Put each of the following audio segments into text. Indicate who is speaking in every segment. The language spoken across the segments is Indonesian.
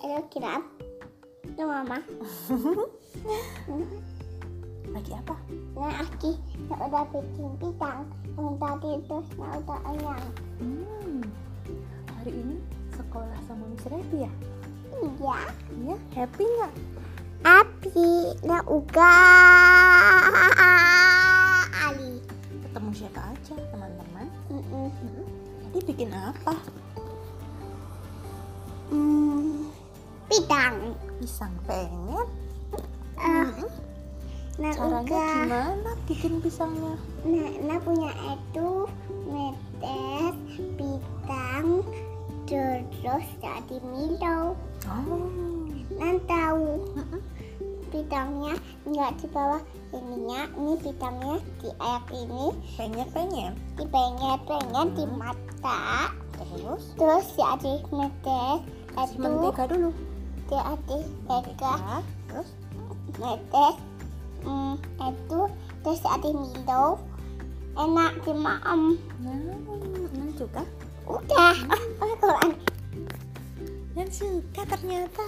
Speaker 1: up tuh mama
Speaker 2: lagi apa
Speaker 1: nah aki nah udah bikin pisang yang tadi itu nah udah enyang
Speaker 2: hmm. hari ini sekolah sama Miss Revi ya
Speaker 1: iya
Speaker 2: iya happy nggak
Speaker 1: api nah uga ali
Speaker 2: ketemu siapa aja teman-teman
Speaker 1: Mm-mm.
Speaker 2: jadi bikin apa
Speaker 1: Hmm, pisang
Speaker 2: pisang pengen Ah,
Speaker 1: Eh, nah
Speaker 2: Hmm, caranya
Speaker 1: uga
Speaker 2: gimana bikin pisangnya
Speaker 1: nah, nah punya itu metes pisang terus jadi milo
Speaker 2: oh
Speaker 1: Nan tahu bidangnya nggak di bawah ininya, ini bidangnya di air ini,
Speaker 2: pengen pengen
Speaker 1: di pengen pengen di mata,
Speaker 2: terus
Speaker 1: terus di adik metes,
Speaker 2: kasih
Speaker 1: itu
Speaker 2: mentega dulu
Speaker 1: di adik mega
Speaker 2: mentega terus
Speaker 1: metes, hmm, itu terus di adik milo, enak dimakan,
Speaker 2: nah Nan suka
Speaker 1: udah, Al Quran,
Speaker 2: Nan suka ternyata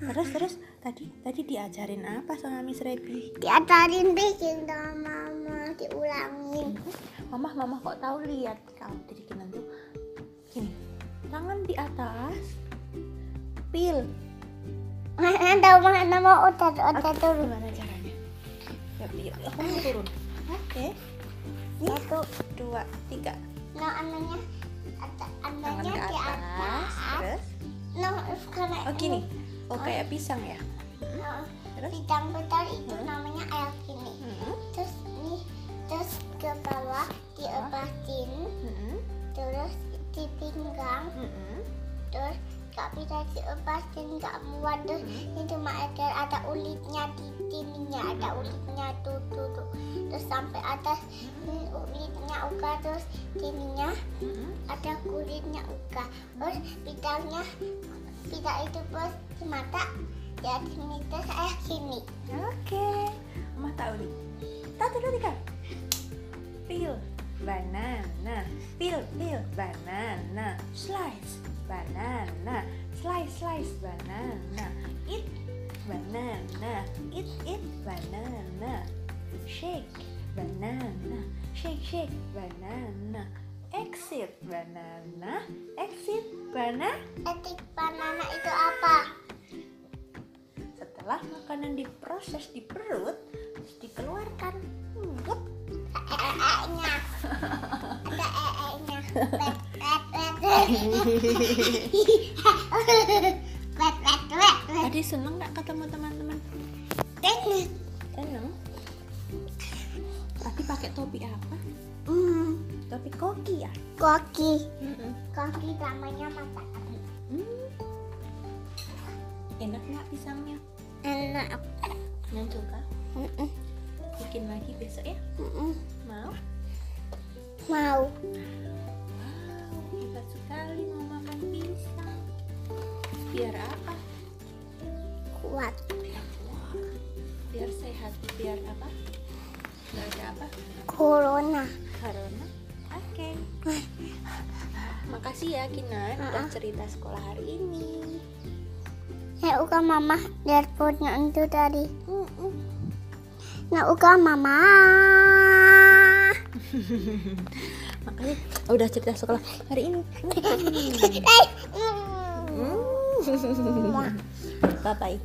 Speaker 2: terus terus tadi tadi diajarin apa sama Miss Revi
Speaker 1: diajarin bikin sama mama, diulangin,
Speaker 2: Mama, mama kok tahu lihat kalau dari kanan tuh gini. Tangan di atas. Pil.
Speaker 1: mana tahu mana mau otot otot
Speaker 2: Aduh,
Speaker 1: dulu.
Speaker 2: Gimana caranya? Ya, Yuk, yuk, yuk. Kamu turun. Oke. Satu, dua, tiga.
Speaker 1: Nah, anaknya at-
Speaker 2: Tangan
Speaker 1: anaknya
Speaker 2: ke
Speaker 1: di
Speaker 2: atas.
Speaker 1: atas.
Speaker 2: Terus.
Speaker 1: Nah, karena
Speaker 2: Oh gini. Oh kayak pisang ya.
Speaker 1: Nah,
Speaker 2: Terus. Hmm.
Speaker 1: bidang betul itu namanya air gini.
Speaker 2: Mm-mm,
Speaker 1: Terus ini terus ke bawah diobatin,
Speaker 2: mm-mm,
Speaker 1: terus di pinggang,
Speaker 2: mm-mm.
Speaker 1: terus gak bisa diobatin, gak muat
Speaker 2: Hmm.
Speaker 1: terus ini cuma ada ada ulitnya di sininya
Speaker 2: Hmm.
Speaker 1: ada ulitnya tuh tuh tuh terus sampai atas
Speaker 2: Hmm.
Speaker 1: ini ulitnya uga terus sininya
Speaker 2: Mm-mm.
Speaker 1: ada kulitnya uga terus bidangnya bidang itu terus di mata ya di sini terus eh sini
Speaker 2: Ya, Oke. Mama tahu nih. Satu, dua, tiga. Pil. Banana. Pil, pil. Banana. Slice. Banana. Slice, slice. Banana. Eat. Banana. Eat, eat. Banana. Shake. Banana. Shake, shake. Banana. Exit. Banana. Exit. Banana.
Speaker 1: etik banana itu apa
Speaker 2: Setelah makanan diproses di perut, terus dikeluarkan. Wup.
Speaker 1: ee-nya ada ee-nya wet wet wet wet wet wet wet wet
Speaker 2: Tadi seneng nggak ketemu teman-teman?
Speaker 1: teknik
Speaker 2: Seneng. Tadi pakai topi apa?
Speaker 1: hmm
Speaker 2: Topi koki ya.
Speaker 1: koki
Speaker 2: Mm-mm.
Speaker 1: koki namanya mata
Speaker 2: Hmm. Enak nggak pisangnya?
Speaker 1: enak
Speaker 2: Nan suka.
Speaker 1: Mm-mm.
Speaker 2: Bikin lagi besok ya.
Speaker 1: Mm-mm.
Speaker 2: Mau?
Speaker 1: mau
Speaker 2: Wow, hebat sekali mau makan pisang. Biar apa?
Speaker 1: kuat
Speaker 2: Biar kuat. Biar sehat. Biar apa? Gak ada apa?
Speaker 1: corona
Speaker 2: Corona. Oke. Makasih ya Kinan udah cerita sekolah hari ini.
Speaker 1: Nah, uka mama earphone-nya itu tadi.
Speaker 2: Mm-mm.
Speaker 1: Nah, uka mama.
Speaker 2: Makanya udah cerita sekolah hari ini. Hmm. bye bye.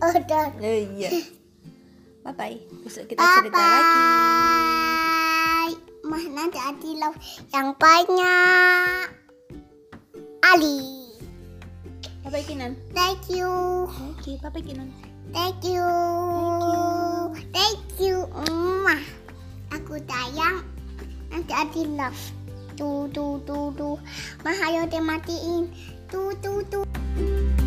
Speaker 1: Ah, udah.
Speaker 2: iya. Bye bye. Besok kita
Speaker 1: Bye
Speaker 2: cerita lagi.
Speaker 1: bye. Mana jadi love yang banyak. Ali.
Speaker 2: Bye bye Kinan.
Speaker 1: Thank you.
Speaker 2: Oke, bye bye Kinan.
Speaker 1: Thank you. Thank you. Mwah. Aku sayang. Nanti ada love. Tu tu tu tu. Mah ayo dimatiin. Tu tu tu.